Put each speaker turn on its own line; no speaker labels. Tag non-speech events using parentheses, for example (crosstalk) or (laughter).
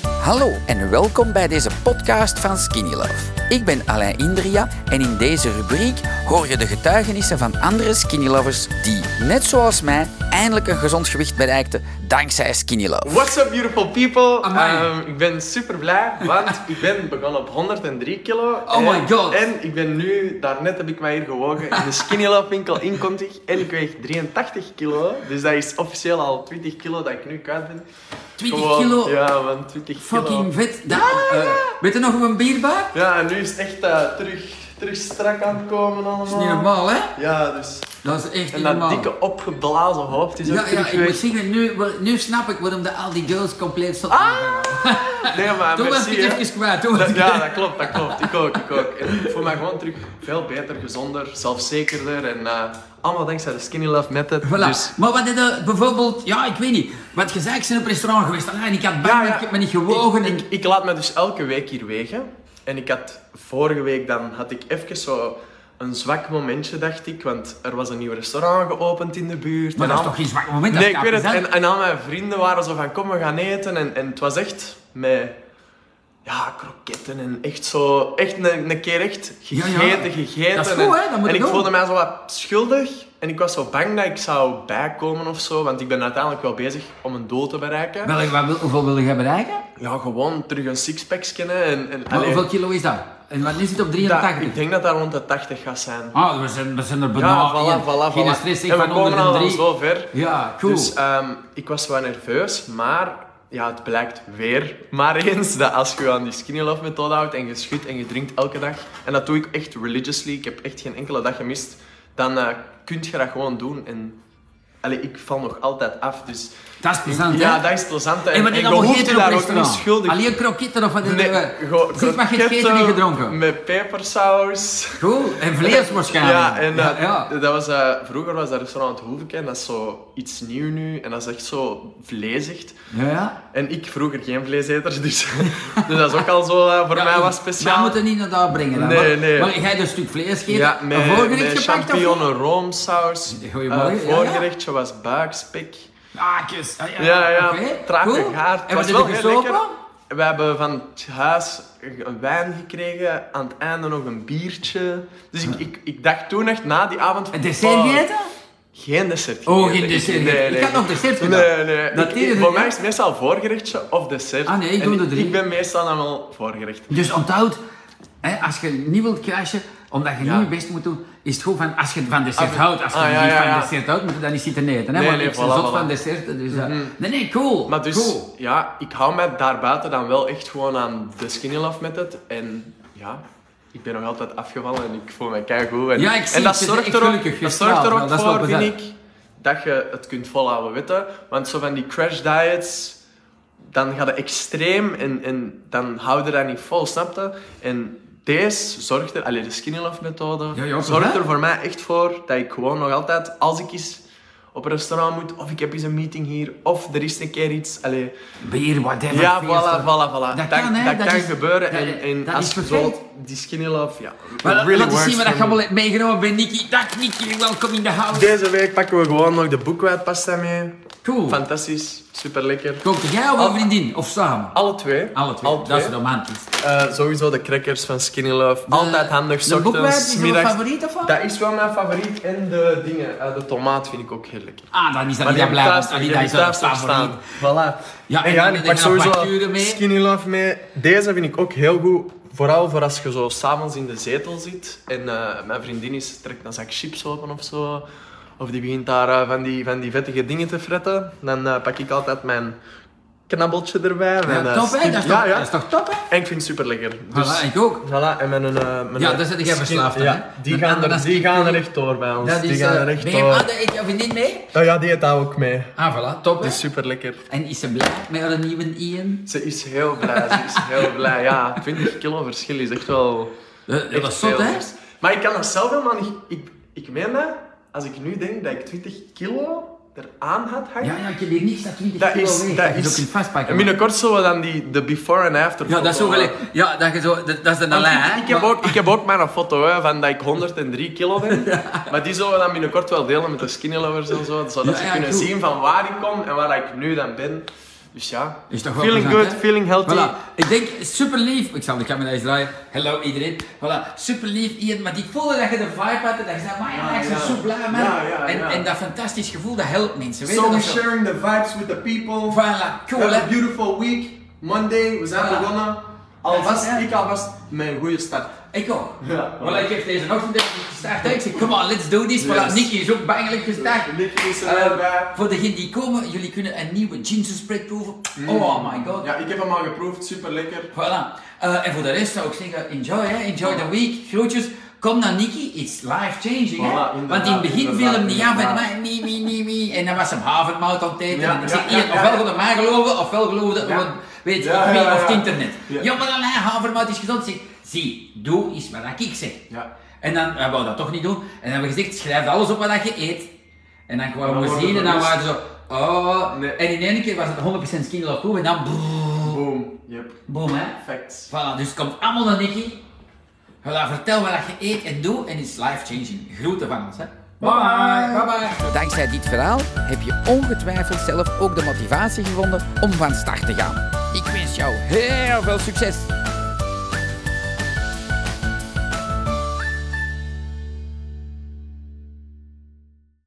Hallo en welkom bij deze podcast van Skinny Love. Ik ben Alain Indria en in deze rubriek hoor je de getuigenissen van andere Skinny Lovers die, net zoals mij, eindelijk een gezond gewicht bereikten dankzij Skinny Love.
What's up, beautiful people?
Amai.
Ehm, ik ben super blij, want ik ben begonnen op 103 kilo.
Oh my God.
En ik ben nu, daarnet heb ik mij hier gewogen in de Skinny Lab winkel in Kontig. En ik weeg 83 kilo. Dus dat is officieel al 20 kilo dat ik nu kwijt ben.
20
Gewoon-
kilo?
Ja, want 20 kilo.
Fucking vet. Dat, eh, weet je nog hoe een bierbaar?
Ja, en nu is het echt eh, terug, terug strak aan het komen allemaal.
Dat is niet normaal, hè?
Ja, dus.
Dat is echt
En
niet
dat
normaal.
dikke opgeblazen hoofd is ook
ja, ja,
terug
ik moet
weg.
zeggen, nu, nu snap ik waarom de, al die girls compleet
Ah!
zot zijn.
Nee, maar
Toen was
merci,
ik
hè.
even kwijt. Toen was
Dat-
ik...
ja, dat klopt, dat klopt. Ik ook, ik ook. En ik voel mij gewoon terug veel beter, gezonder, zelfzekerder en eh, allemaal dankzij de Skinny Love Method.
Voilà.
Dus,
Maar wat is dat bijvoorbeeld, ja, ik weet niet. Want je zei, ik ben op restaurant geweest. Alleen ik had bang,
Ja,
dat
ja.
ik heb me niet gewogen. en-
ik, ik laat me dus elke week hier wegen. En ik had vorige week, dan had ik even zo een zwak momentje, dacht ik. Want er was een nieuw restaurant geopend in de buurt.
maar
en
dat is
al-
toch geen zwak moment? dat
Nee, ik
gaat
weet het.
gezet.
En, en al mijn vrienden waren zo van, kom, we gaan eten. En, en het was echt met... Ja, kroketten en echt zo... Echt een, een keer echt
Ja, ja.
gegeten, gegeten.
Dat is goed,
en,
hè? Dat moet je
en ik
doen.
voelde mij zo wat schuldig. En ik was zo bang dat ik zou bijkomen of zo. Want ik ben uiteindelijk wel bezig om een doel te bereiken.
Welk, wat, wil- hoeveel wil je bereiken?
Ja, gewoon terug een sixpack scannen. En, en,
Maar
allee,
hoeveel kilo is dat? En wat is het op
dat-
83?
ik denk dat dat rond de 80 gaat zijn.
Ah, we zijn, we zijn er bijna.
Ja, voilà,
Geen-
voilà,
Geen
voilà.
stress, ik
En we
van
komen al
103.
zo ver.
Ja, cool.
Dus ehm, ik was wel nerveus, maar ja, het blijkt weer maar eens dat als je je aan die skinny love methode houdt en je schudt en je drinkt elke dag, en dat doe ik echt religiously, ik heb echt geen enkele dag gemist, dan eh kun je dat gewoon doen. En allee, ik val nog altijd af, dus
dat is plezant,
ja,
hè?
dat is plezant.
En wat is
je
dat
hoeft je
gegeten op
daar ook niet
restaurant?
schuldig
Alleen kroketten of wat is
Nee,
dat?
gewoon
Zeg maar, je hebt gegeten en
kroketten
gedronken.
Met pepersaus.
Cool, en vlees waarschijnlijk.
Ja, en
ja,
eh,
ja.
Dat was, eh, vroeger was dat restaurant het Hoeveke en dat is zo iets nieuw nu en dat is echt zo vlezig.
ja, ja.
En ik vroeger geen vleeseter, dus, (laughs) dus dat is ook al zo eh, voor
Ja,
mij
ik-
was
Maar
speciaal.
we moeten niet naar daar brengen. dan.
Nee,
maar,
nee.
Maar jij hebt een stuk vlees gegeten,
ja,
een
met,
voorgerecht
met
gepakt of niet?
champignon roomsaus.
Goeiemorgen,
Eh,
ja, ja.
voorgerechtje was buikspek.
Ah, kus. Ah, ja,
Ja, ja,
Oké,
traag
cool.
gegaard.
En
Het
wat
was
is er
wel heel
gesopen?
lekker. We hebben van het huis een wijn gekregen, aan het einde nog een biertje. Dus ik, ik, ik dacht toen echt na die avond... van,
Een dessert
oh,
gegeten?
Geen dessert.
Oh,
gegeten.
geen dessert gegeten.
Nee,
Ik
nee.
had nog dessert
Nee,
gedaan.
nee.
Dat
Ik-
deden
voor
we,
mij
ja.
is het meestal voorgerechtje of dessert.
Ah, nee, ik
En
doe de drie.
Ik ben meestal dan wel voorgerecht.
Dus onthoud, hè, als je niet wilt crashen, omdat je
Ja.
niet je best moet doen, is het goed van, als je van dessert
Ah,
houdt, als je
ah, ja,
niet
ja,
van
ja.
dessert houdt, moet je dan niet zitten eten. Hè?
Nee,
want
nee,
ik ben
voilà,
zot
voilà. Mhm.
van dessert, dus... eh, Nee, nee, cool.
Maar dus,
cool.
ja, ik hou mij daarbuiten dan wel echt gewoon aan de skinny love method. En ja, ik ben nog altijd afgevallen en ik voel me keigoed. En,
Ja, ik zie
en dat
het. Je
zorgt
bent
er
echt
ook,
gelukkig. Je
dat zorgt
straalt
er
wel.
ook
Dat is wel
voor, vind
plezant.
ik, dat je het kunt volhouden, weet je. Want zo van die crash diets, dan gaat het extreem en, en dan hou je dat niet vol, snap je? En deze zorgt er, allee, de skinny love methode,
Ja, ja,
zorgt
hè?
er voor mij echt voor dat ik gewoon nog altijd, als ik eens op een restaurant moet, of ik heb eens een meeting hier, of er is een keer iets, allee,
Bier, whatever.
ja,
feesten.
voilà, voilà, voilà.
Dat
Dat,
kan, hè?
dat
Dat
kan
is-
gebeuren.
dat-
en en
dat
als
is
je
perfect.
zo die skinny love, ja. it
Maar
really
laten we
works
zien wat
for
ik allemaal
me.
heb meegenomen bij Nicky. Dag Nicky, welkom in de house.
Deze week pakken we gewoon nog de boekwijdpasta mee.
Cool.
Fantastisch, super lekker.
Kookte jij of een
Al-
vriendin? Of samen?
Alle twee.
Alle twee. Dat is romantisch.
Eh, sowieso de crackers van Skinny Love. Altijd handig,
de
s ochtends,
boekweit is jouw
middags.
favoriet, of wat?
Dat is wel mijn favoriet. En de dingen, eh, de tomaat vind ik ook heel lekker.
Ah, dan is dat niet
Maar die
dat
heb
blij,
ik
want
thuis,
Alida
die heb
is
ik
wel
thuis nog
favoriet.
staan. Voilà.
Ja, en
ja,
dan
ik
heb
pak
je
sowieso
nog facturen mee.
Skinny Love mee. Deze vind ik ook heel goed. Vooral voor als je zo s'avonds in de zetel zit en eh, mijn vriendin is, trekt een zak chips open of zo. Of die begint daar eh, van, die, van die vettige dingen te fretten. Dan eh, pak ik altijd mijn knabbeltje erbij. mijn,
Ja,
eh,
top, hè?
skin-
Dat is
ja,
toch-
ja.
dat is toch top, hè?
En ik vind het Dus- super lekker.
Voilà, ik ook.
Voilà, en mijn... eh, mijn
Ja, daar zit jij
skin-
verslaafd aan,
ja,
hè?
Die
Met
gaan, er,
ananas
die
kippen.
gaan er echt door bij ons.
Dat
die
is...
gaan
eh,
er echt
ben je-
door. Oh
ah, dat eet je vriendin mee?
Ja, ja, die eet dat ook mee.
Ah, voilà, top, hè?
Dat is super lekker.
En is ze blij met haar nieuwe Ian?
Ze is heel blij, ze is heel blij. Ja, 20 kilo verschil is echt wel.
Dat
echt
was Eh, zot,
veel.
hè?
Maar ik kan dat zelf helemaal niet. Ik, ik meen dat, als ik nu denk dat ik 20 kilo eraan had hangen.
Ja, ja, ik heb hier niks dat 20
dat
kilo
is.
weegt.
Dat
je
is
ook kunt vastpakken.
En binnenkort zullen we dan die, de before en after.
Ja, dat is zo
foto
gelijk.
maken.
Ja, dat, je zo, dat, dat is de
Want
lijn,
Nou, Ik,
hè?
ik, heb
Maar-
ook, ik heb ook maar een foto hè, van dat ik 103 kilo
(laughs)
ben. Maar die zullen we dan binnenkort wel delen met de skinny lovers en zo. Zodat
Ja,
ze
ja,
kunnen
goed.
zien van waar ik kom en waar ik nu dan ben.
Dus ja,
Is toch wel
feeling
plezant,
good,
hè?
feeling healthy.
Voilà. Ik denk, super lief. Ik zal de camera eens draaien. Hallo iedereen. Voilà, super lief Ian. Maar ik voelde dat je de vibe had en dat je zei, maar ja, ik ben
ja.
zo blij man.
Ja, ja,
en,
ja.
en dat fantastisch gevoel, dat helpt mensen. Weet je
So
dat
we're
zo?
sharing the vibes with the people.
Voilà, cool
Have a
hè.
beautiful week. Monday, we zijn
Ja.
begonnen. Alvast,
Ja.
ik alvast mijn goede start.
Ik ook.
Ja.
Voilà, ik heb deze ochtend even gestart. hè. Ik zeg, come on, let's do this. Voilà,
Yes.
Nicky is ook bangelijk gestart.
Nicky is
Eh,
er weer bij.
voor degenen die komen, jullie kunnen een nieuwe ginger spread proeven.
Mm.
Oh my god.
Ja, ik heb hem al geproefd, super lekker.
Voilà. Eh, en voor de rest zou ik zeggen, enjoy, hè. enjoy the week. Groetjes. Kom naar Nicky, it's life changing. hè? Want
Voilà,
in het
inderdaad,
begin viel
inderdaad,
hem niet af en
inderdaad.
maar, nee, nee, nee, nee. En dan was hem havermout aan het eten.
Ja,
en ik
ja,
zeg,
ja,
Ian,
ja,
ofwel
ja.
wil je mij geloven, ofwel geloven
Ja.
we, weet
Ja,
of
ja,
wie,
ja,
of het
ja.
internet. Ja,
Ja.
maar alleen havermout is gezond. Ik Zeg, zie, doe eens wat ik zeg.
Ja.
En dan, hij wou dat toch niet doen. En dan hebben we gezegd, schrijf alles op wat je eet. En dan kwamen
Dan
we
worden
zien
we
en dan
bewust.
waren ze zo, oh.
Nee.
En in één keer was het 100% skinny love en dan brrr,
Boom. Yep.
boom hè.
Facts.
Voilà, dus het komt allemaal naar Nicky. Voilà, vertel wat je eet en doet en is life changing. Groeten van ons, hè. Bye bye. bye, bye.
Dankzij dit verhaal heb je ongetwijfeld zelf ook de motivatie gevonden om van start te gaan. Ik wens jou heel veel succes!